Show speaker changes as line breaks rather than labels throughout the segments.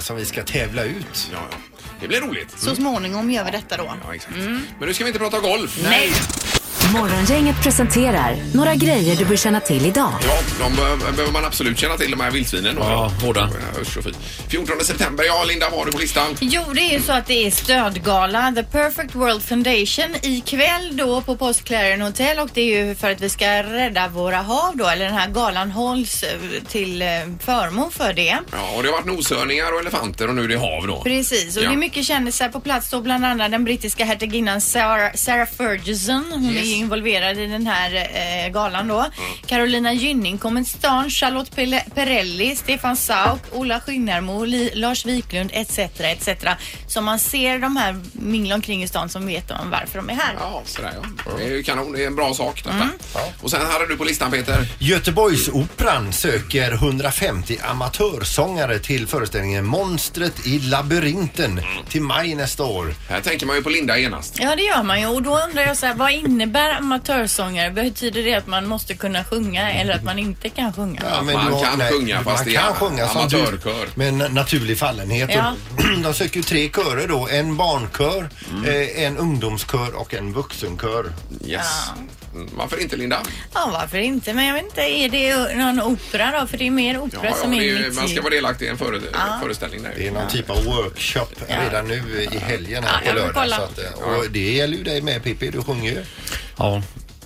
som vi ska tävla ut.
Ja, ja. Det blir roligt.
Så småningom gör vi detta då.
Ja, exakt. Men nu ska vi inte prata golf.
Mm. Nej.
Morgongänget presenterar några grejer du bör känna till idag.
Ja, de be- behöver man absolut känna till, de här vildsvinen. då.
Ja, båda.
Usch och fy. 14 september, ja Linda, vad har du på listan?
Jo, det är ju så att det är stödgala, The Perfect World Foundation, ikväll då på Post Clarion Hotel och det är ju för att vi ska rädda våra hav då, eller den här galan hålls eh, till eh, förmån för det.
Ja, och det har varit noshörningar och elefanter och nu är det hav då.
Precis, och
Ja.
det är mycket kändisar på plats då, bland annat den brittiska hertiginnan Sarah, Sarah Ferguson. Hon är ju involverad i den här eh, galan
Mm.
då. Carolina Gynning kommer till stan, Charlotte Pelle- Perrelli, Stefan Sauk, Ola Skinnarmo, Li, Lars Wiklund etc. etc. Så man ser de här mingla omkring i stan som vet om varför de är här.
Ja, sådär ja. Det är ju kanon, det är en bra sak detta.
Mm.
Och sen hade du på listan Peter?
Göteborgsoperan söker 150 amatörsångare till föreställningen Monstret i labyrinten till maj nästa år.
Här tänker man ju på Linda genast.
Ja, det gör man ju. Och då undrar jag så här, vad innebär amatörsångare? Betyder det att man måste kunna sjunga eller att man inte kan sjunga?
Ja, men
man
du har-
kan sjunga, fast
man
det är
kan sjunga som
amatörkör.
du, med en naturlig fallenhet.
Ja.
Och De söker ju tre körer då, en barnkör, eh, en ungdomskör och en vuxenkör.
Mm. Yes. Mm, Varför inte Linda?
Ja, varför inte? Men jag vet inte, är det någon opera då? För det är mer opera som
det
är
är,
mitt
man ska
liv.
vara delaktig i en före, föreställning där.
Det är någon typ av workshop redan nu i helgen
Ja, jag
här
vill
på lördag.
kolla.
Så att, eh, och det gäller ju dig med Pippi, du sjunger ju.
Ja.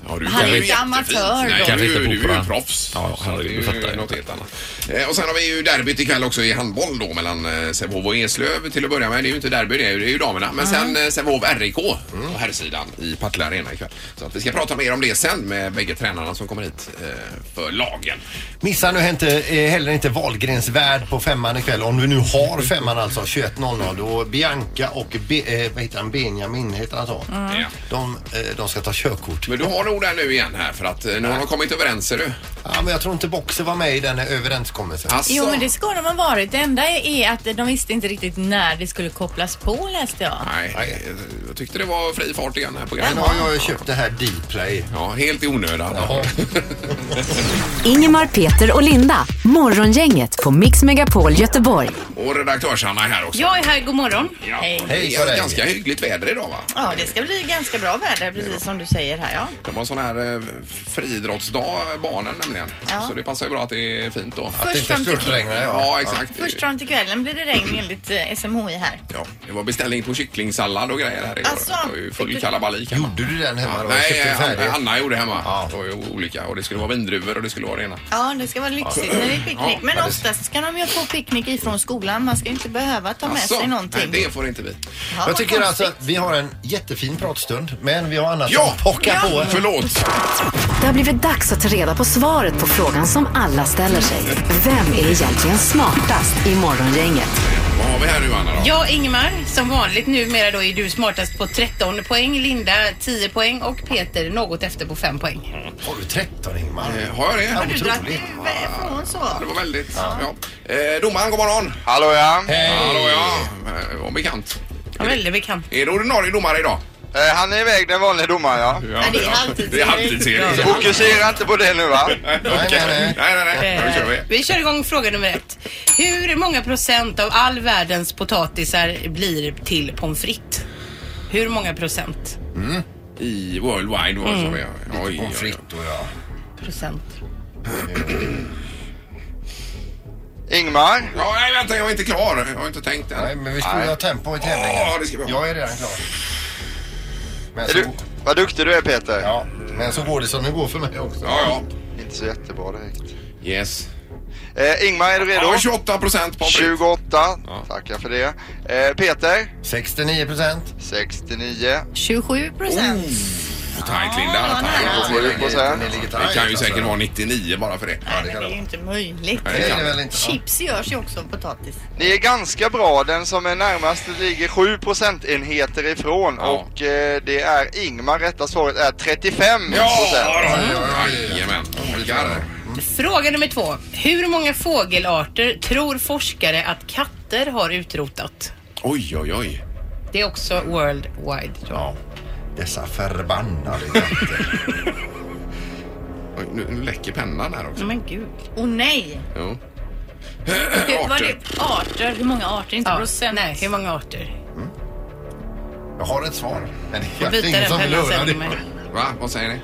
Ja, du,
Han är
du
inte
jättefin.
amatör
Nej,
då.
du,
Kanske
du,
inte på
är ju
opera.
proffs.
Ja,
Så
herregud,
det är
fattar
ju
jag.
något helt annat. Eh, Och sen har vi ju derbyt ikväll också i handboll då mellan eh, Sävehof och Eslöv till att börja med. Det är ju inte derby det, är ju- det är ju damerna. Men
Mm.
sen eh, Sävehof RIK på herrsidan i Partille Arena ikväll. Så att vi ska prata mer om det sen med bägge tränarna som kommer hit eh, för lagen.
Missa nu inte, eh, heller inte Wahlgrens värld på femman ikväll. Om du nu har femman alltså, 21.00. Då Bianca och Be, eh, vad heter han? Benjamin, heter han så?
Mm.
Mm.
Ja.
De, eh, de ska ta körkort.
Men du har nog den nu igen här för att eh, nu har de kommit överens ser du.
Ja, men jag tror inte Boxer var med i den här överenskommelsen.
Alltså,
Jo, men det ska de ha varit. Det enda är att de visste inte riktigt när det skulle kopplas på, läste jag.
Nej, eh, jag tyckte det var fri fart igen här på
Men
programmet.
har jag ju köpt det här D-play.
Ja, helt i onödan.
Ingemar, Peter och Linda. Morgongänget på Mix Megapol Göteborg.
Och redaktörs-Anna är här också.
Jag är här, god morgon.
Ja.
Hej.
Det
Hej
är
på dig.
ganska hyggligt väder idag va?
Ja, det ska bli ganska bra väder, precis som du säger här, ja.
De har sån här eh, friidrottsdag, eh, barnen nämligen. Så det passar ju bra att det är fint då.
Att det inte
fram till-
störtregnar, ja.
Ja, exakt.
Först fram till kvällen blir det regn enligt eh, SMHI här.
Ja, det var beställning på kycklingsallad och grejer här igår.
Alltså.
det var ju full kalabalik hemma.
Gjorde du den hemma
Ja,
då?
nej,
Köpte du
eh,
färdig?
Anna, Anna gjorde hemma.
Ja.
Det var ju olika och det skulle vara vindruvor och det skulle vara det ena.
Ja, det ska vara lyxigt när det är picknick. Men oftast ska de ju få picknick ifrån skolan. Man ska ju inte behöva ta med sig
Alltså, nej,
någonting.
det får inte vi.
Ja, vad
Jag tycker
konstigt.
alltså att vi har en jättefin pratstund men vi har annat
Ja!
som pockar på.
Förlåt Förlåt.
Det har blivit dags att ta reda på svaret på frågan som alla ställer sig. Vem är egentligen smartast i Morgongänget?
Vad har vi här nu Anna då?
Ja, Ingmar, som vanligt numera då är du smartast på 13 poäng, Linda 10 poäng och Peter något efter på 5 poäng.
Har du 13 Ingmar?
Eh, Har jag
Har
det?
du
Otroligt.
dragit ifrån så?
Ja, Det var väldigt. Ja. Eh, domaren, god morgon.
Hallå ja.
Hej!
Hallå ja. Eh, Och bekant.
Ja, väldigt bekant.
Är det ordinarie domare idag?
Eh, han är iväg den vanliga domaren ja.
Ja,
det är alltid
Det är
serien.
alltid serien.
Ja.
Fokusera inte på det nu va.
Okej. Nej,
nej,
nej, nej. Nu kör vi.
Eh, Vi kör igång fråga nummer ett. Hur många procent av all världens potatisar blir till pommes frites? Hur många procent?
Mm. I Worldwide var
Mm.
det som vi... Oj,
Pommes
oj, oj.
frites och ja.
Procent.
Ingmar.
Ja, nej, vänta, jag är inte klar. Jag har inte tänkt
Nej,
än.
men vi skulle
Nej.
ha tempo i
Ja, det ska vi
tävlingen.
ha.
Jag är redan klar. Men
Är du,
så,
vad duktig du är Peter.
ja, men så går det som det går för mig också.
Ja, ja.
Inte så jättebra direkt.
Yes.
Eh, Ingmar är du redo?
Ja, 28 procent pommes frites.
28.
Ja.
Tackar för det. Eh, Peter?
69 procent.
69.
27 procent.
Oh. Tajt, Linda.
nära.
Tajt.
27 procent.
Det kan ju
alltså.
säkert vara 99 bara för det.
Ja, det
Men
kan
det är ju
det
inte möjligt.
Nej,
vara. Det är det väl inte? Ja.
Chips görs ju också av potatis.
Ni är ganska bra. Den som är närmast ligger 7 procentenheter ifrån
Ja.
och eh, det är Ingmar. Rätta svaret är 35
Ja,
procent. Mm.
då. jajamän. Tackar.
Fråga nummer två. Hur många fågelarter tror forskare att katter har utrotat?
Oj, oj, oj.
Det är också worldwide.
Ja. Dessa förbannade katter.
Oj, nu, nu läcker pennan här också.
Men gud. Åh nej!
Jo.
Hur, var
Arter.
det arter? Hur många arter? Inte
Ja,
procent?
Nej, hur många arter?
Jag har ett svar. Men det är
Byta
ingen
den
som vill
pennan
höra
sen till
det.
mig.
Va? Vad säger ni?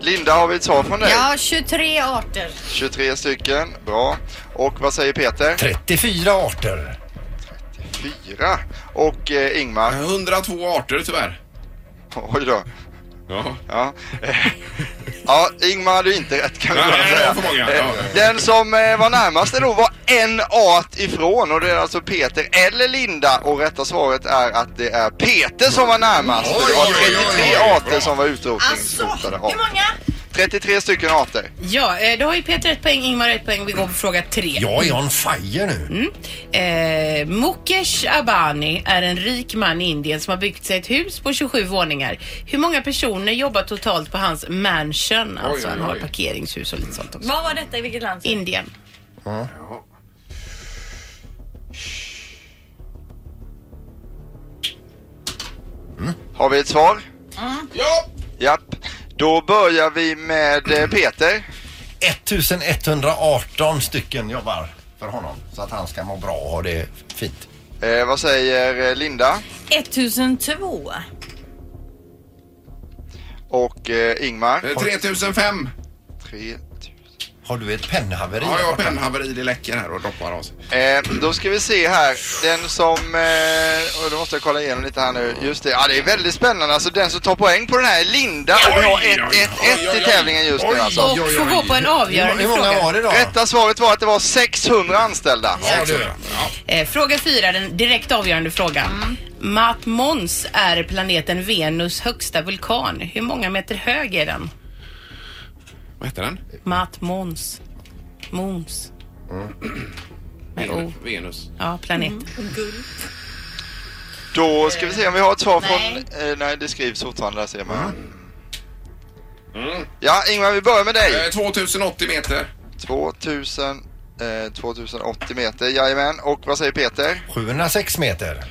Linda, har vi ett svar från dig?
Ja, 23 arter.
23 stycken. Bra. Och vad säger Peter?
34 arter.
4. Och eh, Ingmar?
102 arter tyvärr.
Oj då.
Ja.
Ja. Eh, ja, Ingmar hade ju inte rätt kan vi
Nej,
bara
nej,
säga.
det var för många.
Eh,
Ja.
Den som eh, var närmast då var en art ifrån och det är alltså Peter eller Linda och rätta svaret är att det är Peter som var närmast. För det var
Oj, oj, oj, oj,
33
bra.
arter som var utrotningshotade. Ja. 33 stycken arter.
Ja, eh, då har ju Peter ett poäng, Ingmar ett poäng. Vi går på fråga tre.
Jag är on fire nu.
Eh, Mukesh Abani är en rik man i Indien som har byggt sig ett hus på 27 våningar. Hur många personer jobbar totalt på hans mansion? Alltså
oj,
han har
oj.
parkeringshus och lite sånt också.
Vad var detta? I vilket land?
Indien.
Har vi ett svar?
Mm.
Ja!
Japp. Då börjar vi med eh, Peter.
1118 stycken jobbar för honom. Så att han ska må bra och ha det fint.
Eh, vad säger eh, Linda?
1002.
Och eh, Ingmar?
Eh, 3005.
3
Har du ett pennhaveri?
Ja, jag har pennhaveri. Det läcker här och droppar av sig.
Eh, då ska vi se här. Den som... Eh, och då måste jag kolla igenom lite här nu. Just det. Ja, det är väldigt spännande. Alltså den som tar poäng på den här är Linda. Och vi har
Oj, oj, oj,
1-1-1
oj,
i
oj.
tävlingen just nu
Oj.
alltså.
Och
oj,
får
oj.
gå på en avgörande
Hur många
fråga.
var det då?
Rätta svaret var att det var 600 anställda.
Ja, du.
Ja.
Eh, fråga fyra, den direkt avgörande frågan. Mat Mons är planeten Venus högsta vulkan. Hur många meter hög är den?
Vad heter den?
Mat Mons. Mons. Med O.
Venus.
Ja, planet.
Då ska vi se om vi har ett svar från... Eh, nej, det skrivs fortfarande. Där ser man.
Mm.
Mm.
Ja, Ingmar, vi börjar med dig.
Eh, 2080 meter.
2000... Eh, 2080 meter, jajamän. Och vad säger Peter?
706 meter.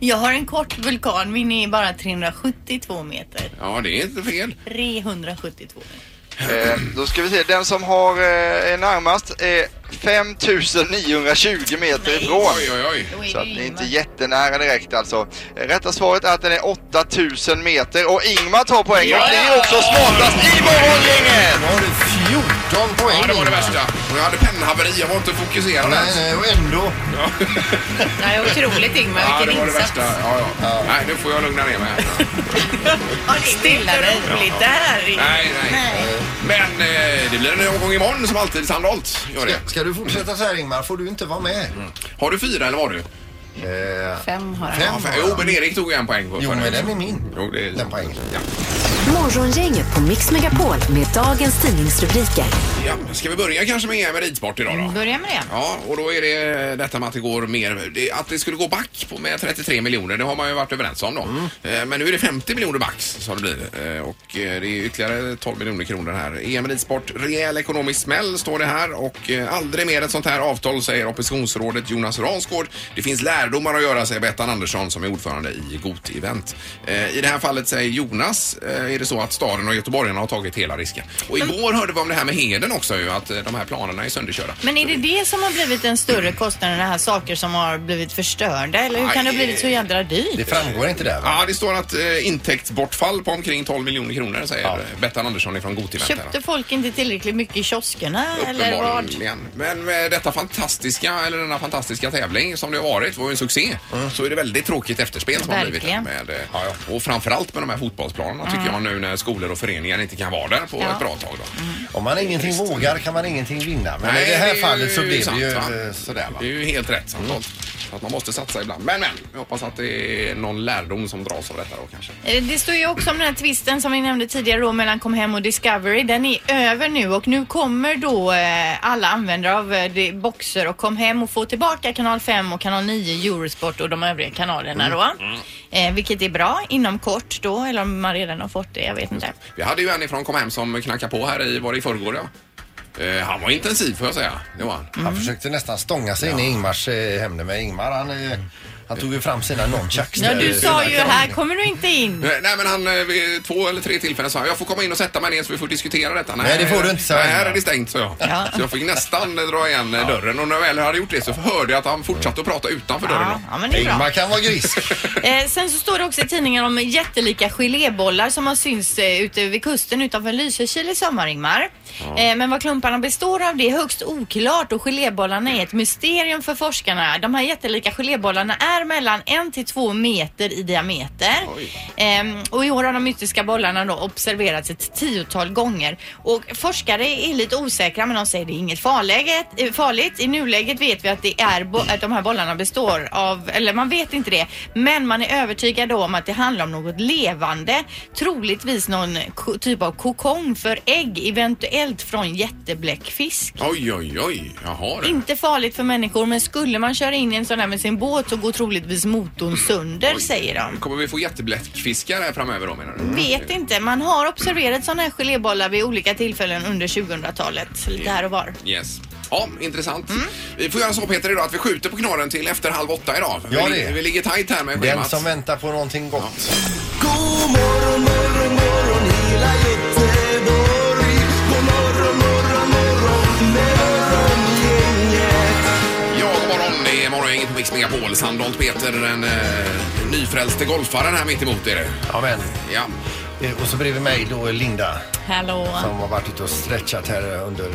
Jag har en kort vulkan. Min är bara 372 meter.
Ja, det är inte fel.
372 meter.
Eh, då ska vi se, den som har, eh, är närmast är 5920 meter ifrån.
Oj, oj, oj.
Då är
Så
det
att
ju
ni är inte
Ingmar.
jättenära direkt alltså. Eh, Rätta svaret är att den är 8000 meter och Ingmar tar poängen och blir också smartast i
Då
morgongänget!
har du 14 poäng.
Ja, det var det
Ingmar.
värsta. Och jag hade pennhaveri. Jag var inte fokuserad
Nej,
ens.
nej, och ändå.
Nej, otroligt Ingmar,
Ja, det
vilken
var det
insats.
värsta. Ja, ja. Nej, nu får jag lugna ner mig. här.
Stilla dig. Roligt där.
Nej, nej. Men eh, det blir en ny omgång imorgon som alltid, Sandholt. Gör det.
Ska, ska du fortsätta så här Ingmar får du inte vara med.
Har du fyra eller var du?
Eh,
Fem har han.
Fem, jo, men Erik tog ju en poäng på
Jo,
förra
men
veckan.
den är min.
Jo, det är den poängen. Ja.
Morgongänget på Mix Megapol med dagens tidningsrubriker.
ja. Ska vi börja kanske med EM i ridsport idag då?
Börja med det.
Ja, och då är det detta med att det går mer, det- att det skulle gå back på med 33 miljoner, det har man ju varit överens om då. Eh, Men nu är det 50 miljoner back som det blir eh, och eh, det är ytterligare 12 miljoner kronor här. EM i ridsport, rejäl ekonomisk smäll står det här och eh, aldrig mer ett sånt här avtal säger oppositionsrådet Jonas Ransgård. Det finns lärdomar att göra säger Bettan Andersson som är ordförande i GOT Event. Eh, I det här fallet säger Jonas, eh, är det så att staden och göteborgarna har tagit hela risken. Och igår hörde vi om det här med Heden också ju, att eh, de här planerna är sönderkörda.
Men är det det som har blivit en större kostnad än de här saker som har blivit förstörda? Eller hur kan det ha blivit så jädra dyrt?
framgår inte där Ja, det står att eh, intäktsbortfall på omkring 12 miljoner kronor säger Bettan Andersson ifrån Gotivent. här.
Köpte folk inte tillräckligt mycket i kioskerna? Eller vad?
Uppenbarligen. Men med detta fantastiska, eller denna fantastiska tävling som det har varit, var ju en succé.
Mm.
Så är det väldigt tråkigt efterspel som har blivit.
Verkligen.
Med, eh, Och framförallt med de här fotbollsplanerna tycker jag nu när skolor och föreningar inte kan vara där på
Mm. Ja.
ett bra tag. Då.
Om man ingenting vågar kan man ingenting vinna. Men
Nej,
i det här
är
fallet så blev det ju
sant, va?
eh, sådär va. Mm.
Det är ju helt rätt samtal. Att man måste satsa ibland. Men, men, jag hoppas att det är någon lärdom som dras av detta då kanske.
Eh, Det står ju också om den här tvisten som vi nämnde tidigare då mellan Comhem och Discovery. Den är över nu och nu kommer då eh, alla användare av eh, det- Boxer och Comhem att få tillbaka kanal 5 och kanal 9, Eurosport och de övriga kanalerna
Mm.
då. Eh, vilket är bra inom kort då, eller om man redan har fått det, jag vet inte.
Vi hade ju en ifrån kom hem som knackade på här i, var det i förrgår ja? eh, Han var intensiv får jag säga. Det var han.
Mm.
Han försökte nästan stånga sig in i Ingmars eh, hämne med Ingmar. Han, eh, han tog ju fram sina nunchucks.
Ja,
där.
du sa ju här kommer du inte in.
Mm.
Eh, Nej men han, eh, vid två eller tre tillfällen sa han, jag får komma in och sätta mig ner så vi får diskutera detta.
Nej, det får du inte, sa
Nej,
han.
här är det stängt sa jag.
Ja.
Så jag fick nästan eh, dra igen eh, dörren och när jag väl hade gjort det så hörde jag att han fortsatte att prata utanför dörren. då.
men det är bra. Ingmar kan
vara grisk.
Eh, sen så står det också i tidningen om jättelika gelébollar som har synts eh, ute vid kusten utanför Lysekil i sommar, Ingmar.
Ja.
Eh, men vad klumparna består av det är högst oklart och gelébollarna är ett mysterium för forskarna. De här jättelika gelébollarna är mellan 1 till 2 meter i diameter. Ehm, och i år har de mystiska bollarna då observerats ett tiotal gånger. Och forskare är lite osäkra men de säger det är inget farläget, eh, farligt. I nuläget vet vi att, det är bo- att de här bollarna består av, eller man vet inte det, men man är övertygad om att det handlar om något levande. Troligtvis någon ko- typ av kokong för ägg, eventuellt från jättebläckfisk.
Oj, oj, oj. Jaha du.
Inte farligt för människor men skulle man köra in i en sån här med sin båt så går troligtvis motorn sönder säger de.
Kommer vi få jättebläckfiskar här framöver då menar du?
Vet inte. Man har observerat sådana här gelébollar vid olika tillfällen under 2000-talet. Lite här och var.
Yes. Ja, intressant.
Mm.
Vi får göra så Peter idag att vi skjuter på knorren till efter halv åtta idag.
Ja,
vi,
det.
ligger- vi ligger tajt här med
Den
schemat.
som väntar på någonting gott.
God morgon, morgon, morgon hela Göteborg. God morgon, morgon, morgon med morgongänget.
Ja, god morgon. Det är morgongänget på Mix Megapol. Sandholt Peter, den eh, nyfrälste golfaren här mitt emot er.
Ja, men.
Ja.
Eh, Och så bredvid mig då är Linda
Hallå.
som har varit ute och stretchat här eh, under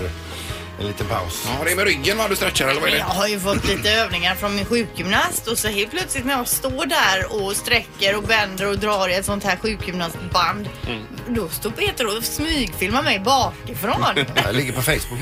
en liten paus.
Ja, det är med ryggen va du stretchar eller vad är
Men
det?
jag har ju fått lite övningar från min sjukgymnast och så helt plötsligt när jag står där och sträcker och vänder och drar i ett sånt här sjukgymnastband då står Peter och smygfilmar mig bakifrån.
Jag ligger på Facebook.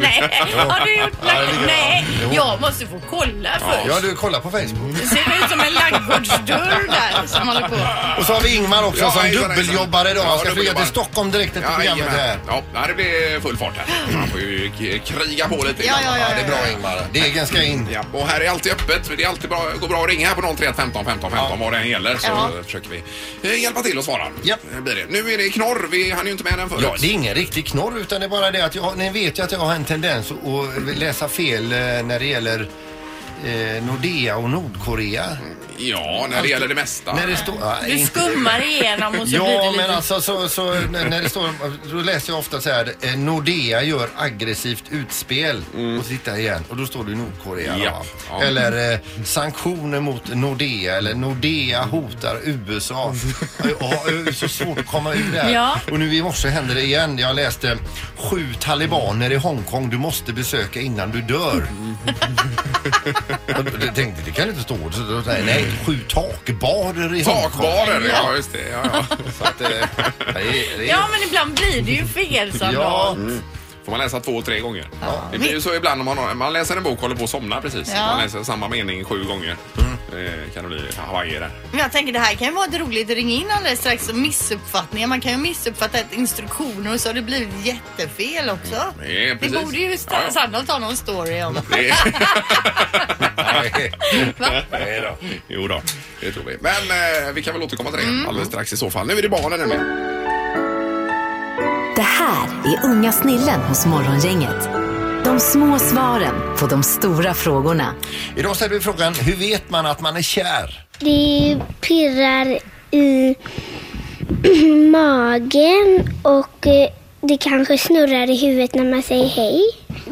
Nej, har du gjort
Ja, det ligger-
Nej,
Jo.
jag måste få kolla först.
Ja, du kollar på Facebook.
Det ser ut som en laggårdsdörr där som håller på.
Och så har vi Ingmar också
Ja,
som
hejsan, hejsan.
dubbeljobbar idag. Han ska
Ja,
flyga
dubbeljobbar.
till Stockholm direkt efter programmet
jajamän.
här.
Ja, nej, det blir full fart här. Man får ju k- kriga på lite.
Ja, ja, ja,
det är
bra, Ingmar. Degen ska in.
Ja, och här är alltid öppet. Det är alltid bra, går bra att ringa här på 031 15 15 15 vad det än gäller så
Ja.
försöker vi eh, hjälpa till och svara. Eh, Blir det. Nu är det knorr. Vi hann ju inte med den förut.
Ja, det är ingen riktig knorr utan det är bara det att jag, ni vet ju att jag har en tendens att- att läsa fel eh, när det gäller eh, Nordea och Nordkorea.
Ja, när det
Alltid.
gäller det mesta.
När det står, ja,
Du
inte-
skummar igenom och så
ja,
blir det lite...
men alltså så, så, när när det står, då läser jag ofta så här, eh, Nordea gör aggressivt utspel och titta igen och då står det Nordkorea. då,
Ja.
va?
Mm. Ja.
Eller eh, sanktioner mot Nordea eller Nordea hotar USA. Ja, ja, det är så svårt att komma ur det här.
Ja.
Och nu i morse hände det igen. Jag läste sju talibaner i Hongkong du måste besöka innan du dör. Och Jag tänkte det kan inte stå. Så då sa jag, Nej, sju takbarer i Hongkong.
Takbarer, ja just det. Ja, ja.
Så att, eh, det är- det är-
Ja, men ibland blir det ju fel som
Ja.
då.
Mm. Får Får man läsa två, tre gånger. Det blir ju så ibland om man, man läser en bok och håller på att somna precis.
Ja.
Man läser samma mening sju gånger. Eh, kan det bli Hawaii där.
Men jag tänker det här kan ju vara ett roligt. Ring in alldeles strax om missuppfattningar. Man kan ju missuppfatta ett instruktioner och så har det blivit jättefel också.
Det är
det
precis.
borde ju
Ja,
sta-
ja.
Sandholt ha någon story om.
Det- Nej då. Jo då, det tror vi. Men eh, vi kan väl återkomma till det
Mm.
alldeles strax i så fall. Nu är det barnen nämligen.
Det här är Unga snillen hos Morgongänget. De små svaren på de stora frågorna.
Idag ställer vi frågan, hur vet man att man är kär?
Det pirrar i magen och eh, det kanske snurrar i huvudet när man säger hej.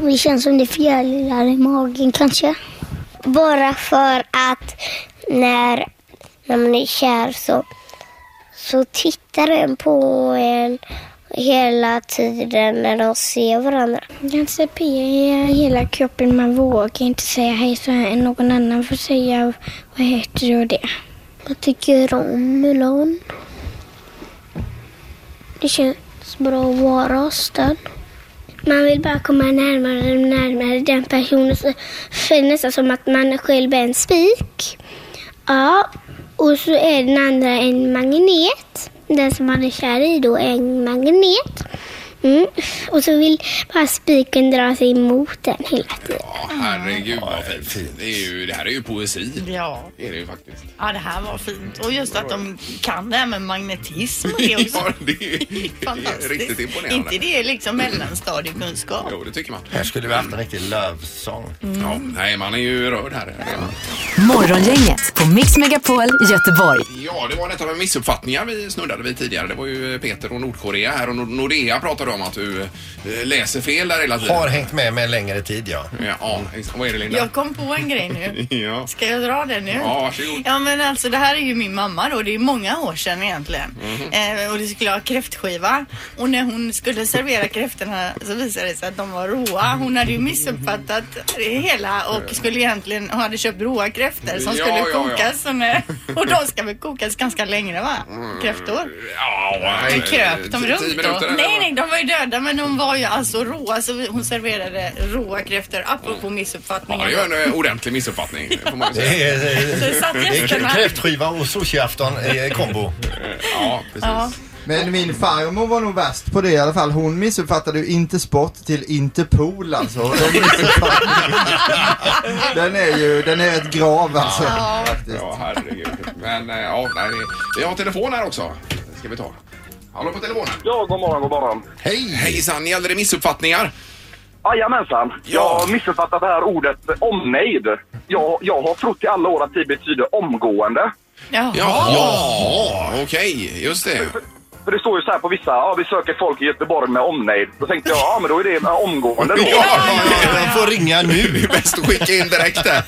Det känns som det fjärilar i magen kanske. Bara för att när, när man är kär så, så tittar den på en hela tiden när de ser varandra. Ganska pirrar i hela kroppen. Man vågar inte säga hej så någon annan får säga vad heter du och det. Jag tycker om Milan. Det känns bra att vara hos den. Man vill bara komma närmare och närmare den personen. Så känns det nästan som att man själv är en spik. Ja, och så är den andra en magnet. Den som man är kär i då är en magnet. Mm. Och så vill bara spiken dra sig emot den hela tiden.
Ja,
Mm.
herregud vad fint. Det, är ju, det här är ju poesi.
Ja.
Det är det ju faktiskt.
Ja, det här var fint. Och just att de kan det här med magnetism och det också.
Ja, det är, det är
Fantastiskt.
riktigt imponerande.
Inte det är liksom mellanstadiekunskap.
Jo, det tycker man. Mm.
Här skulle vi haft en riktig lövsång.
Ja, nej, man är ju rörd här.
Morgongänget på Mix Megapol Göteborg.
Ja, det var detta med missuppfattningar vi snuddade vid tidigare. Det var ju Peter och Nordkorea här och Nord- Nordea pratade om att du eh, läser fel där hela tiden.
Har hängt med mig en längre tid, ja.
Ja, ja ex- vad är det Linda?
Jag kom på en grej nu.
Ja.
Ska jag dra den nu?
Ja, varsågod.
Ja, men alltså det här är ju min mamma då. Det är många år sedan egentligen.
Mhm.
Eh, och det skulle ha kräftskiva. Och när hon skulle servera kräftorna så visade det sig att de var råa. Hon hade ju missuppfattat det hela och skulle egentligen hon hade köpt råa kräftor som
Ja,
skulle
ja, ja.
kokas. Och, när, och de ska väl kokas ganska länge va? Kräftor?
Ja,
Men
eh,
kröp de
Mm. tio
runt
minuter
då?
eller
Nej,
vad?
nej, de var ju döda men de var ju alltså råa så hon serverade råa kräftor apropå missuppfattningar.
Mm. Ja, det är ju en eh, ordentlig missuppfattning. får man ju säga.
Det är, eh,
Så satt
det är
gästerna.
kräftskiva och sushiafton i eh, kombo.
Ja,
Ja.
Men min farmor var nog värst på det i alla fall. Hon missuppfattade ju inte sport till Interpol alltså. Och de missuppfattade- den är ju, den är ett grav alltså.
Ja, ja herregud. Men eh, ja, nej, det- vi har telefon här också. Det ska vi ta. Hallå på telefonen.
Ja, god morgon, god morgon.
Hej! Hejsan, gäller det missuppfattningar?
Jajamensan. Jag har missuppfattat det här ordet omnejd. Jag, jag har trott i alla år att det betyder omgående.
Jaha.
Ja, okej, just det.
För det står ju så här på vissa, ja vi söker folk i Göteborg med omnejd. Då tänkte jag, ja men då är det med omgående då.
De får ringa nu. Det är
bäst att skicka in direkt där.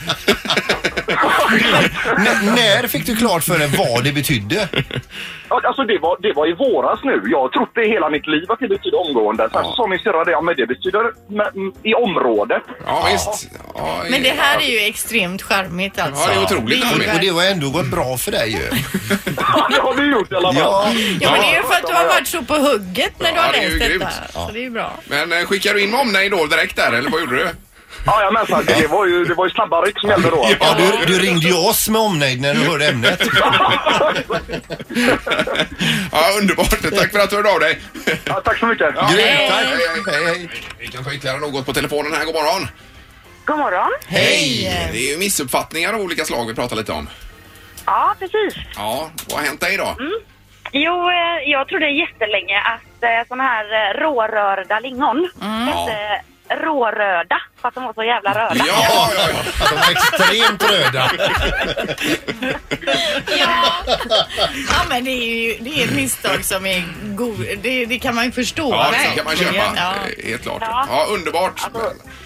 N- när fick du klart för dig vad det betydde?
Ja, Alltså det var, det var i våras nu. Jag har trott det hela mitt liv att det betyder omgående. Sen så sa min syrra det, ja men det betyder med, m- i området.
Ja, visst.
Men det här är ju extremt charmigt alltså. Det är ju
Och det
verkligen-
har ändå gått bra för dig ju.
det har du gjort i alla
fall. Ja,
Ja men det är ju för att du har varit så på hugget när du
Ja,
har
det är ju
läst detta.
grymt.
Så det är ju bra.
Men eh, skickar du in med omnejd då direkt där, eller vad gjorde du?
Jajamensan, det var ju, det var ju snabba ryck som gällde då.
Ja, du, du ringde ju oss med omnejd när du hörde ämnet.
Ja, underbart. Tack för att du hörde av dig.
Ja, tack så mycket.
Ja,
Grymt,
hej,
tack.
hej, hej, hej. Vi kan ta ytterligare något på telefonen här. God morgon.
God morgon.
Hej! Det är ju missuppfattningar av olika slag vi pratar lite om.
Ja, precis.
Ja, vad har hänt dig idag?
Jo, eh, jag trodde jättelänge att eh, såna här eh, rårörda lingon
Mm.
hette råröda, för att de var så jävla röda.
Ja, ja, ja.
De är extremt röda.
Ja men det är ju det är ett misstag som är god, det, det kan man ju förstå.
Ja, det
verkligen.
kan man köpa.
Ja.
eh, Helt klart.
Ja.
Ja, Alltså- underbart.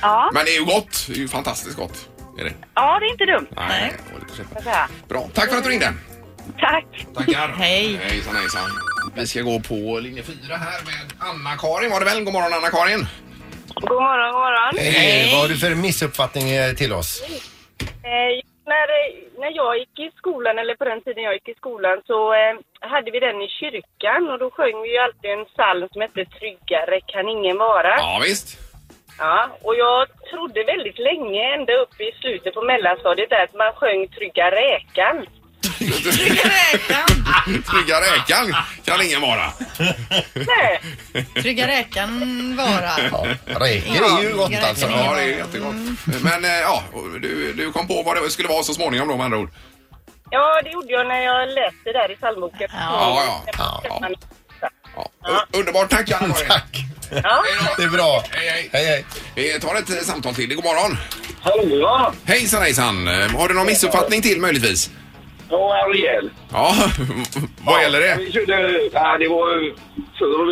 Ja.
Men det är ju gott. Det är ju fantastiskt gott. Är det?
ja, det är inte dumt.
Nej.
ska jag säga.
Bra. Tack för att du ringde.
Tack.
Tackar. Hej. Hejsan, hejsan. Vi ska gå på linje 4 här med Anna-Karin var det väl? God morgon Anna-Karin.
God morgon, god morgon.
eh, Hej, vad har du för missuppfattning eh, till oss?
Eh,
när, eh, när jag gick i skolan, eller på den tiden jag gick i skolan, så eh, hade vi den i kyrkan och då sjöng vi ju alltid en psalm som hette Tryggare kan ingen vara.
Ja, visst.
Ja, och jag trodde väldigt länge, ända upp i slutet på mellanstadiet, där, att man sjöng Trygga räkan.
Trygga räkan kan ingen vara.
Nej.
Trygga räkan vara.
Räkor
är ju gott
alltså. Ja, det är jättegott. Men eh, ja, du, du kom på vad det skulle vara så småningom då med andra ord.
Ja, det gjorde jag när jag läste där i psalmboken.
Ja, ja. U- Underbart, tack Anna Tack. Det är bra. Hej, hej. Vi tar ett eh, samtal till. God morgon.
Hallå!
Hejsan, hejsan. Eh, Har du någon missuppfattning till möjligtvis?
Ja, Ariel.
Ja, vad gäller det?
Vi körde, ja, det var förr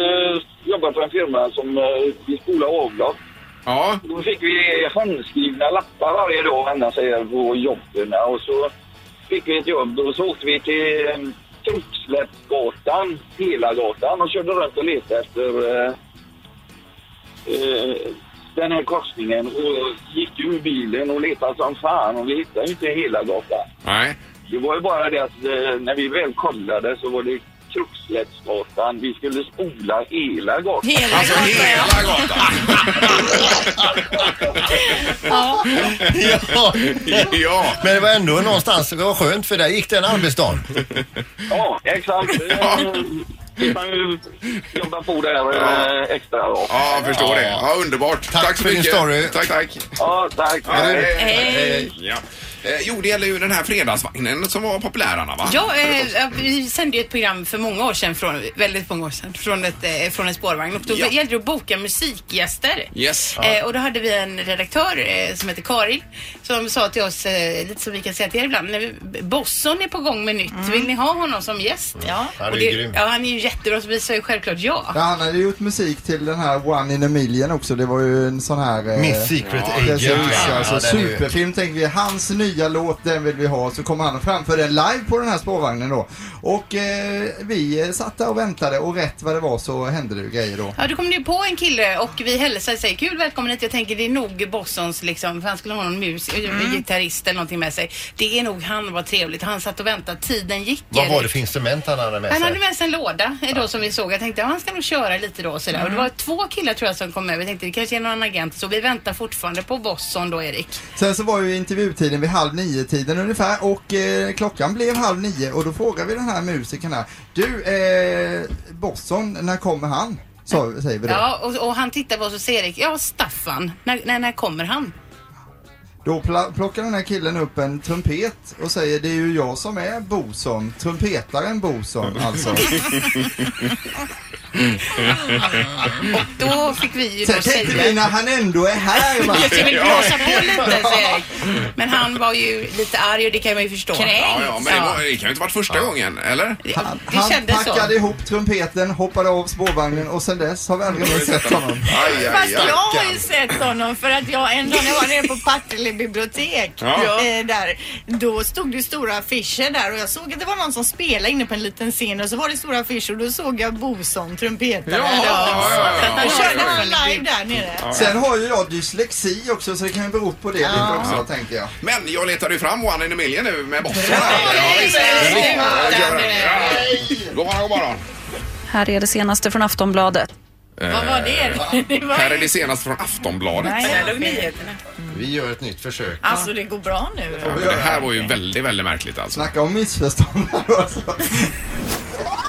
vi jobbade på en firma som eh, vi spolade avlopp.
Ja.
Då fick vi handskrivna lappar varje dag ända sig på jobben och så fick vi ett jobb och så åkte vi till eh, Kroppsläppsgatan, Pelagatan och körde runt och letade efter eh, eh, den här korsningen och gick ur bilen och letade som fan och vi hittade ju inte hela gatan.
Nej.
Det var ju bara det att eh, när vi väl kollade så var det Kruxlättsgatan. Vi skulle spola hela gatan.
Hela Alltså, gatan,
hela
gatan?
Ja.
ja.
ja.
Men det var ändå någonstans, det var skönt för där gick den arbetsdagen.
Ja, exakt. Eh, Vi kan ju jobba på där eh, extra. Då.
Ja, jag förstår det. Ja, underbart. Tack, så
för din
mycket.
story.
Tack, tack.
Ja, tack.
hej.
Hej.
Ja. Eh, Jo, det gäller ju den här fredagsvagnen som var populär, Anna, va?
Ja, eh, vi sände ju ett program för många år sedan, från, väldigt många år sedan, från, ett, eh, från en spårvagn och då
Ja.
gällde det att boka musikgäster.
Yes.
Eh, och då hade vi en redaktör eh, som heter Karin som sa till oss, eh, lite som vi kan säga till er ibland, när vi, Bosson är på gång med nytt, vill ni ha honom som gäst? Ja.
Han är
Och
ju
det-
grym.
Ja, han är ju jättebra så vi sa ju självklart ja.
Ja, han hade gjort musik till den här One in a Million också. Det var ju en sån här... eh,
Miss Secret
ja,
Agent.
Precis,
Ja,
alltså,
den är ju-
superfilm tänkte vi. Hans nya låt, den vill vi ha. Så kommer han och framför den live på den här spårvagnen då. Och eh, vi eh, satt där och väntade och rätt vad det var så hände det ju grejer då.
Ja, då kom det ju på en kille och vi hälsade och säger kul välkommen hit. Jag tänker det är nog Bossons liksom, för han skulle ha någon mus, gitarrist eller någonting med sig. Det är nog han, vad trevligt. Han satt och väntade, tiden gick.
Vad var det
Erik.
för instrument han hade med
Han hade
sig?
med sig en låda eh, då som vi såg. Jag tänkte ja, han ska nog köra lite då och sådär. Och det var två killar tror jag som kom med. Vi tänkte det kanske är någon agent. Så vi väntar fortfarande på Bosson då Erik.
Sen så var ju intervjutiden vid halv nio-tiden ungefär och eh, klockan blev halv nio och då frågade vi den här musikern här. Du, eh, Bosson, när kommer han? Så, säger vi då.
Ja, och, och han tittar på oss och säger Erik, ja Staffan, när, när, när kommer han?
Då pla- plockar den här killen upp en trumpet och säger det är ju jag som är Boson, trumpetaren Boson alltså.
Och då fick vi ju då
Sen tänkte vi när
säga...
han ändå är här va.
Jag vill blåsa på lite, säger Erik. Men han var ju lite arg och det kan man ju förstå.
Ja, ja, men det, var, det kan ju inte varit första gången, eller?
Han,
det
han
kändes så.
packade ihop trumpeten, hoppade av spårvagnen och sen dess har vi aldrig mer sett honom.
Aj,
Fast jag har ju sett honom för att jag en dag när jag var nere på Partille bibliotek
Ja.
eh, där, då stod det stora affischer där och jag såg att det var någon som spelade inne på en liten scen och så var det stora affischer och då såg jag Boson, trumpetare.
Ja, ja, ja, ja, ja.
Då körde han
Ja, ja, ja.
live där nere.
Sen har ju jag dyslexi också så det kan ju bero på det lite också tänker jag.
Men jag letade ju fram One in a Million nu med bossen. God morgon, god morgon.
Här är det senaste från Aftonbladet.
Vad
var det? Det var-
Eh, Här är det senast från Aftonbladet.
Nej, jag nyheterna.
Vi gör ett nytt försök.
Alltså det går bra nu.
Ja, men det här var ju väldigt, väldigt märkligt alltså.
Snacka om missförstånd.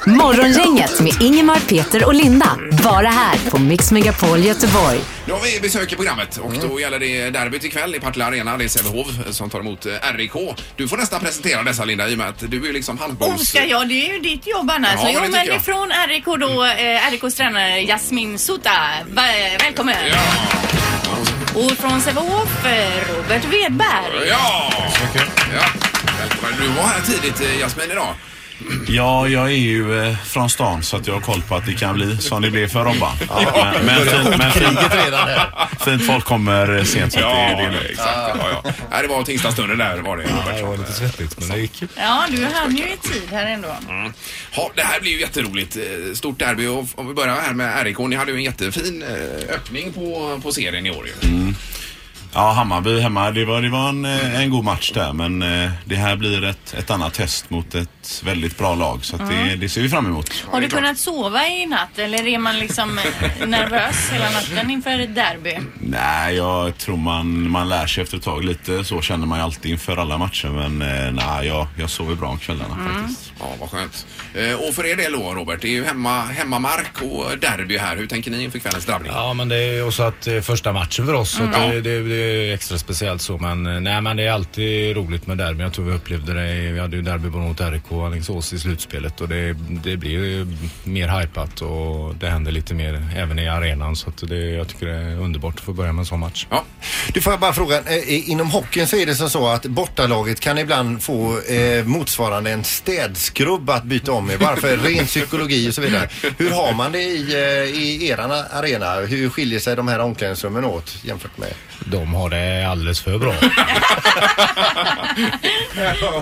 Morgongänget med Ingemar, Peter och Linda. Bara här på Mix Megapol Göteborg.
Nu har vi besök i programmet och då gäller det derbyt ikväll i Partille Arena. Det är Sävehof som tar emot eh, RIK. Du får nästan presentera dessa Linda i och med att du är liksom handbolls...
Oh, ska jag? Det är ju ditt jobb annars.
Ja,
jo,
det
men
tycker jag.
ifrån RIK då, eh, RIKs tränare Jasmin Sota. Va, välkommen! Och från Sävehof, eh, Robert Wedberg.
Ja! ja! Välkommen. Du var här tidigt eh, Jasmin idag.
Ja, jag är ju eh, från stan så att jag har koll på att det kan bli som det blev för Robban. Men, men, fint, men fint, fint folk kommer eh, sent. Så att
Ja,
det är det.
exakt. Ja, ja. Nej, det var Tingstadstunneln där var det. Ja, det var lite svettigt men det gick ju.
Ja, du hann ju i tid här ändå.
Mm. Ja, det här blir ju jätteroligt. Eh, Stort derby och f- om vi börjar här med RIK. Ni hade ju en jättefin eh, öppning på, på serien i år ju.
Mm. Ja, Hammarby hemma. Det var, det var en, eh, en god match där men eh, det här blir ett, ett annat test mot ett väldigt bra lag så att det,
Mm.
det ser vi fram emot.
Har du kunnat sova i natt eller är man liksom eh, nervös hela natten inför ett derby? Mm.
Nej, jag tror man, man lär sig efter ett tag. Lite så känner man ju alltid inför alla matcher men eh, nej, jag, jag sover bra om kvällarna
Mm.
faktiskt.
Mm. Ja, vad skönt. Eh, Och för er del då, Robert, det är ju hemma, hemmamark och derby här. Hur tänker ni inför kvällens drabbning?
Ja, men det är ju också att det är första matchen för oss.
Mm.
Så att
Ja.
det, det, det är extra speciellt så. Men eh, nej, men det är alltid roligt med derby. Jag tror vi upplevde det. i- Vi hade ju derby både mot RIK och Alingsås i slutspelet. Och det, det blir ju mer hypat och det händer lite mer även i arenan. Så att det, jag tycker det är underbart att få börja med en sån match.
Du får jag bara fråga, eh, i- inom hockeyn så är det som så att bortalaget kan ibland få eh, motsvarande en städskrubb att byta om med bara för ren psykologi och så vidare. Hur har man det i, eh, i eran arena? Hur skiljer sig de här omklädningsrummen åt jämfört med?
De har det alldeles för bra.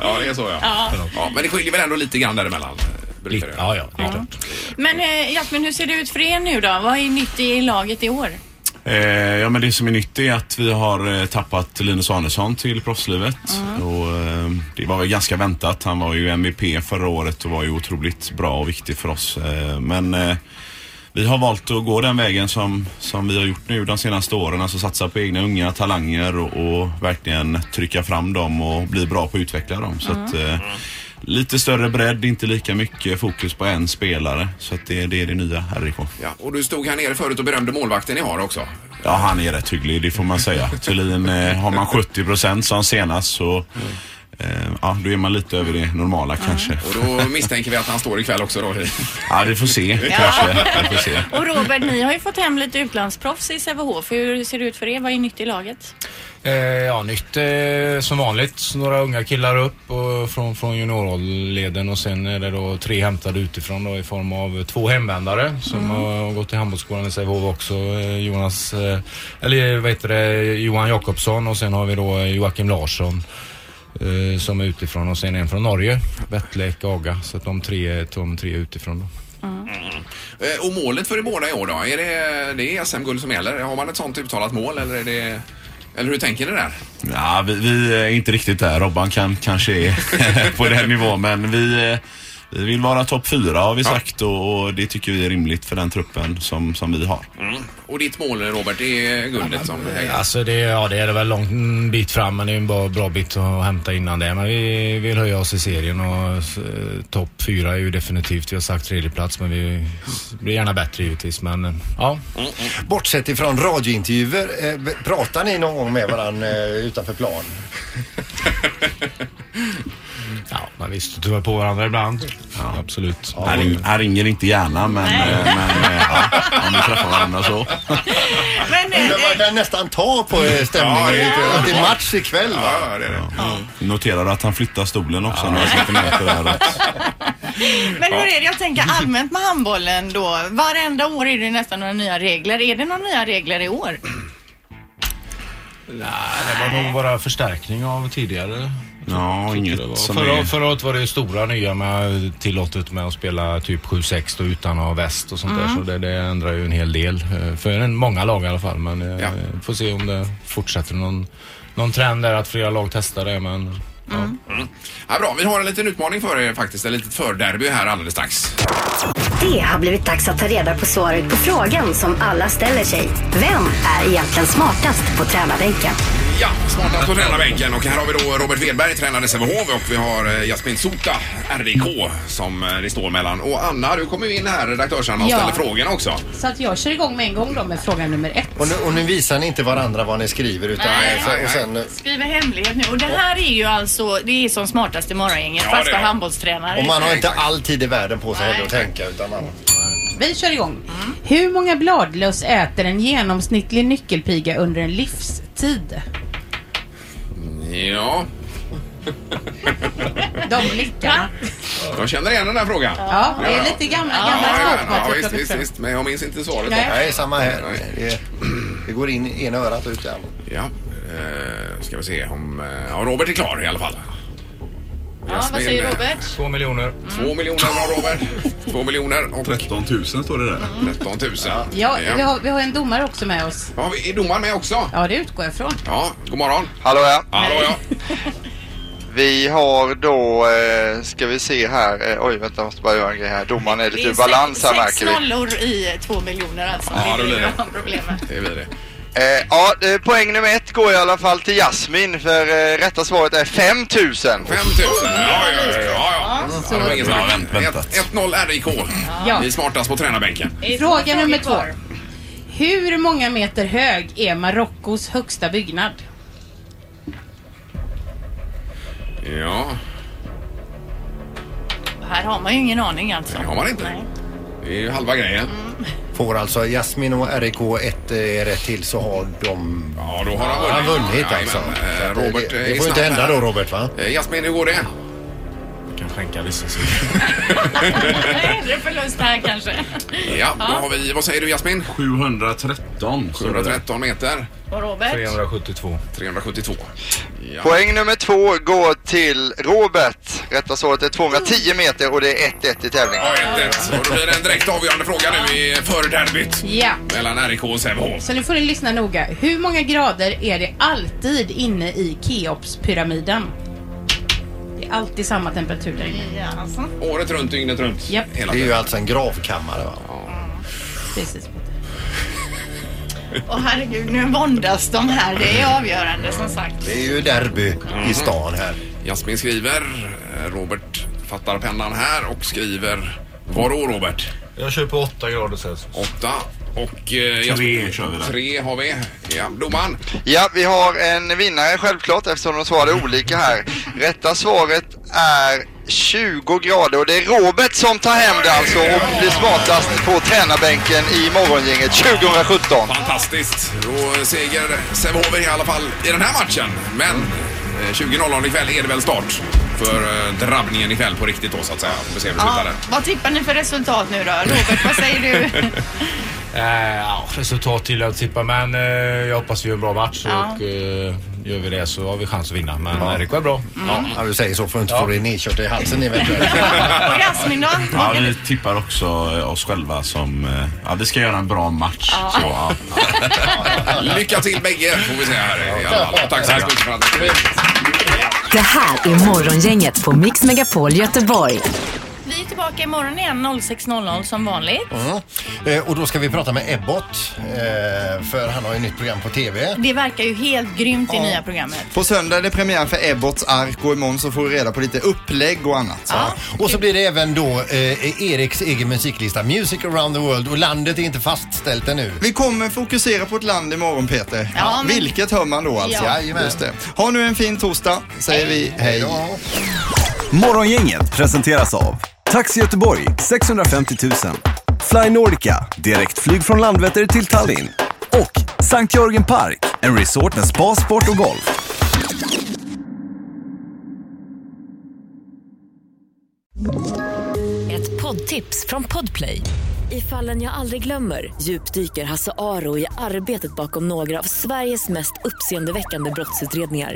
Ja, det är så ja.
Ja.
ja. Men det skiljer väl ändå lite grann däremellan? eh, Brukar det?
Ja, ja, det
är
klart.
Men eh, Jasmin, hur ser det ut för er nu då? Vad är nytt i laget i år?
Eh, ja, men det som är nytt är att vi har eh, tappat Linus Arnesson till proffslivet.
Mm.
Och, eh, det var väl ganska väntat. Han var ju MVP förra året och var ju otroligt bra och viktig för oss. Eh, men eh, vi har valt att gå den vägen som, som vi har gjort nu de senaste åren. Alltså satsa på egna unga talanger och, och verkligen trycka fram dem och bli bra på att utveckla dem. Så
Mm.
att, eh, lite större bredd, inte lika mycket fokus på en spelare. Så att det, det är det nya härifrån.
Ja, och du stod här nere förut och berömde målvakten ni har också.
Ja, han är rätt hygglig, det får man säga. Tydligen eh, har man 70 procent som senast så eh, ja, då är man lite över det normala kanske.
Och då misstänker vi att han står ikväll också då.
Ja, vi får se
Ja.
kanske. Vi får se.
Och Robert, ni har ju fått hem lite utlandsproffs i Sävehof. Hur ser det ut för er? Vad är nytt i laget?
Eh, ja, nytt eh, som vanligt. Några unga killar upp och från, från juniorleden och sen är det då tre hämtade utifrån då, i form av två hemvändare som
Mm.
har gått i handbollsskolan i Sävehof också. Eh, Jonas, eh, eller vad heter det, Johan Jakobsson och sen har vi då eh, Joakim Larsson eh, som är utifrån och sen en från Norge, Vetlek Aga. Så att de tre, de tre är utifrån då.
Eh, Och målet för er båda i år då? Är det, det är SM-guld som gäller? Har man ett sånt uttalat mål eller är det... Eller hur tänker ni där?
Ja, vi, vi är inte riktigt där. Robban kan, kanske är på den nivån. Men vi, eh, vi vill vara topp fyra har vi sagt och, och det tycker vi är rimligt för den truppen som, som vi har.
Mm. Och ditt mål, Robert, det är guldet som
Ja, Alltså det, ja, det är det väl lång mm, bit fram men det är en bra, bra bit att hämta innan det. Men vi vill höja oss i serien och eh, topp fyra är ju definitivt, vi har sagt tredje plats men vi blir gärna bättre givetvis. Men eh, ja,
Bortsett ifrån radiointervjuer, eh, b- pratar ni någon gång med varandra utanför plan?
ja men visst tuvar på varandra ibland. Absolut.
Han, ring, han ringer inte gärna men, eh, men eh, ja, om vi träffar varandra så.
Man kan nästan ta på eh, stämningen.
Ja.
Att det är match ikväll va?
Ja, det är det.
Noterar du att han flyttar stolen också några centimeter där.
Mm. Men hur är det, jag tänker allmänt med handbollen då. Varenda år är det nästan några nya regler. Är det några nya regler i år?
Det var nog bara förstärkning av tidigare.
Ja, inget som
Förra,
är...
förra året var det ju stora nya med tillåtet med att spela typ 7-6 då utan att ha väst och sånt där.
Mm.
Så det, det ändrar ju en hel del. eh, För en, många lag i alla fall. Men eh, får se om det fortsätter någon, någon trend där att flera lag testar det. Men
Mm. Ja, bra, vi har en liten utmaning för er faktiskt. Ett litet förderby här alldeles strax.
Det har blivit dags att ta reda på svaret på frågan som alla ställer sig. Vem är egentligen smartast på tränarbänken?
Ja, smartast på tränarbänken. Och här har vi då Robert Wedberg, tränare i Sävehof och vi har eh, Jasmin Sota, RIK, som eh, det står mellan. Och Anna, du kommer ju in här, redaktörs-Anna, och
Ja.
ställer frågorna också.
Så att jag kör igång med en gång då med fråga nummer ett.
Och nu, och nu visar ni inte varandra vad ni skriver utan
Nej.
eh, så- och sen, eh,
Skriver hemlighet nu. Och det här är ju alltså, det är som smartaste morgongänget,
Ja,
fast
det
för
är.
handbollstränare.
och man har inte all tid i världen på sig heller att tänka utan man...
Vi kör igång.
Mm.
Hur många bladlöss äter en genomsnittlig nyckelpiga under en livstid?
Ja,
De blickarna.
jag känner igen den här frågan.
Ja, det är lite gamla, gamla
Ja,
skåp.
ja, visst, visst, visst, men jag minns inte svaret.
Nej.
då.
Nej, samma här.
Nej.
Det, det går in i ena örat och ut i andra.
Ja, eh, ska vi se om... eh, Ja, Robert är klar i alla fall.
Ja, vad säger Robert?
Två miljoner.
Två miljoner har Robert. Två miljoner och 13 000 står det där. 13 000.
Ja, vi har, vi har en domare också med oss.
Ja, är domaren med också?
Ja, det utgår jag ifrån.
Ja, god morgon.
Hallå ja.
Hallå ja.
Vi har då, eh, ska vi se här, eh, oj vänta jag måste bara göra en grej här. Domaren är lite ur balans här typ märker
Sex
vi.
nollor i två miljoner alltså.
Ja,
det
då blir
är
det.
det. problemet.
Det blir det.
Eh, ja, eh, poäng nummer ett går i alla fall till Jasmin för eh, rätta svaret är 5000.
5000, ja ja ja. ja, ja.
så-
ja det var inget
Bra
snack. 1-0 RIK.
Ja.
Vi är smartast på tränarbänken.
Fråga nummer två. Hur många meter hög är Marockos högsta byggnad?
Ja, eh,
Här har man ju ingen aning alltså.
det har man inte. Det är ju halva grejen.
Får alltså Jasmin och RIK ett eh, rätt till så har de...
Ja, då har
Han
han vunnit.
vunnit
Ja,
alltså.
jajamän.
Så att
Eh,
det-
Robert
det,
är
det får ju
snabb
inte hända
här.
då Robert va?
Eh, Jasmin, hur går det?
kan skänka vissa
Hellre förlust här kanske.
Ja, då har vi, vad säger du Jasmin?
713.
713 meter.
Och Robert?
372.
372. Ja.
Poäng nummer två går till Robert. Rätta svaret är 210 meter och det är 1-1 i tävlingen.
Ett. Och då blir det en direkt avgörande fråga nu i för derbyt
Ja.
mellan RIK och Sävehof.
Så nu får ni lyssna noga. Hur många grader är det alltid inne i Keopspyramiden? Det är alltid samma temperatur där inne.
Ja, alltså.
Året runt, dygnet runt.
Japp.
Hela
Det är ju
tiden.
alltså en gravkammare va?
Precis.
Åh herregud, nu våndas de här. Det är avgörande som sagt.
Det är ju derby i stan här.
Mm. Jasmin skriver, eh, Robert fattar pennan här och skriver Vadå Robert?
Jag kör på 8 grader Celsius.
8 och eh,
Tre kör vi där.
Tre har vi. Ja, domaren.
Ja, vi har en vinnare självklart eftersom de svarade olika här. Rätta svaret är 20 grader och det är Robert som tar hem det alltså och blir smartast på tränarbänken i morgongänget 2017.
Fantastiskt. Då seger Sävehof i alla fall i den här matchen. Men eh, 20.00 ikväll är det väl start för eh, drabbningen ikväll på riktigt då så att säga. Får vi se hur det
Ja,
slutar där.
vad tippar ni för resultat nu då? Robert, vad säger du?
Eh, ja, resultat till att tippa men eh, jag hoppas vi gör en bra match
Ja.
och eh, gör vi det så har vi chans att vinna. Men ja. RIK är bra.
Mm. Ja, du säger så för att inte få det nedkört i halsen eventuellt.
Och Jasmin då?
Ja, vi tippar också eh, oss själva som... eh, Ja, vi ska göra en bra match.
Ja.
Så, ja.
Lycka till bägge får vi säga här i alla fall. Tack så hemskt mycket för att ni kom hit.
Det här är Morgongänget på Mix Megapol Göteborg.
Vi är tillbaka imorgon igen 06.00 som vanligt.
Mm. Eh, och då ska vi prata med Ebbot. Eh, för han har ju nytt program på TV.
Det verkar ju helt grymt i nya programmet.
På söndag är det premiär för Ebbots ark och imorgon så får vi reda på lite upplägg och annat.
Ja. Och så blir det även då eh, Eriks egen musiklista, Music around the world. Och landet är inte fastställt ännu.
Vi kommer fokusera på ett land imorgon Peter.
Ja, men-
Vilket hör man då alltså.
Ja. Jajamän.
Just det. Ha nu en fin torsdag säger vi hej.
Morgongänget presenteras av Taxi Göteborg 650 000 Fly Nordica, direktflyg från Landvetter till Tallinn och Sankt Jörgen Park, en resort med spa, sport och golf.
Ett poddtips från Podplay. I fallen jag aldrig glömmer djupdyker Hasse Aro i arbetet bakom några av Sveriges mest uppseendeväckande brottsutredningar.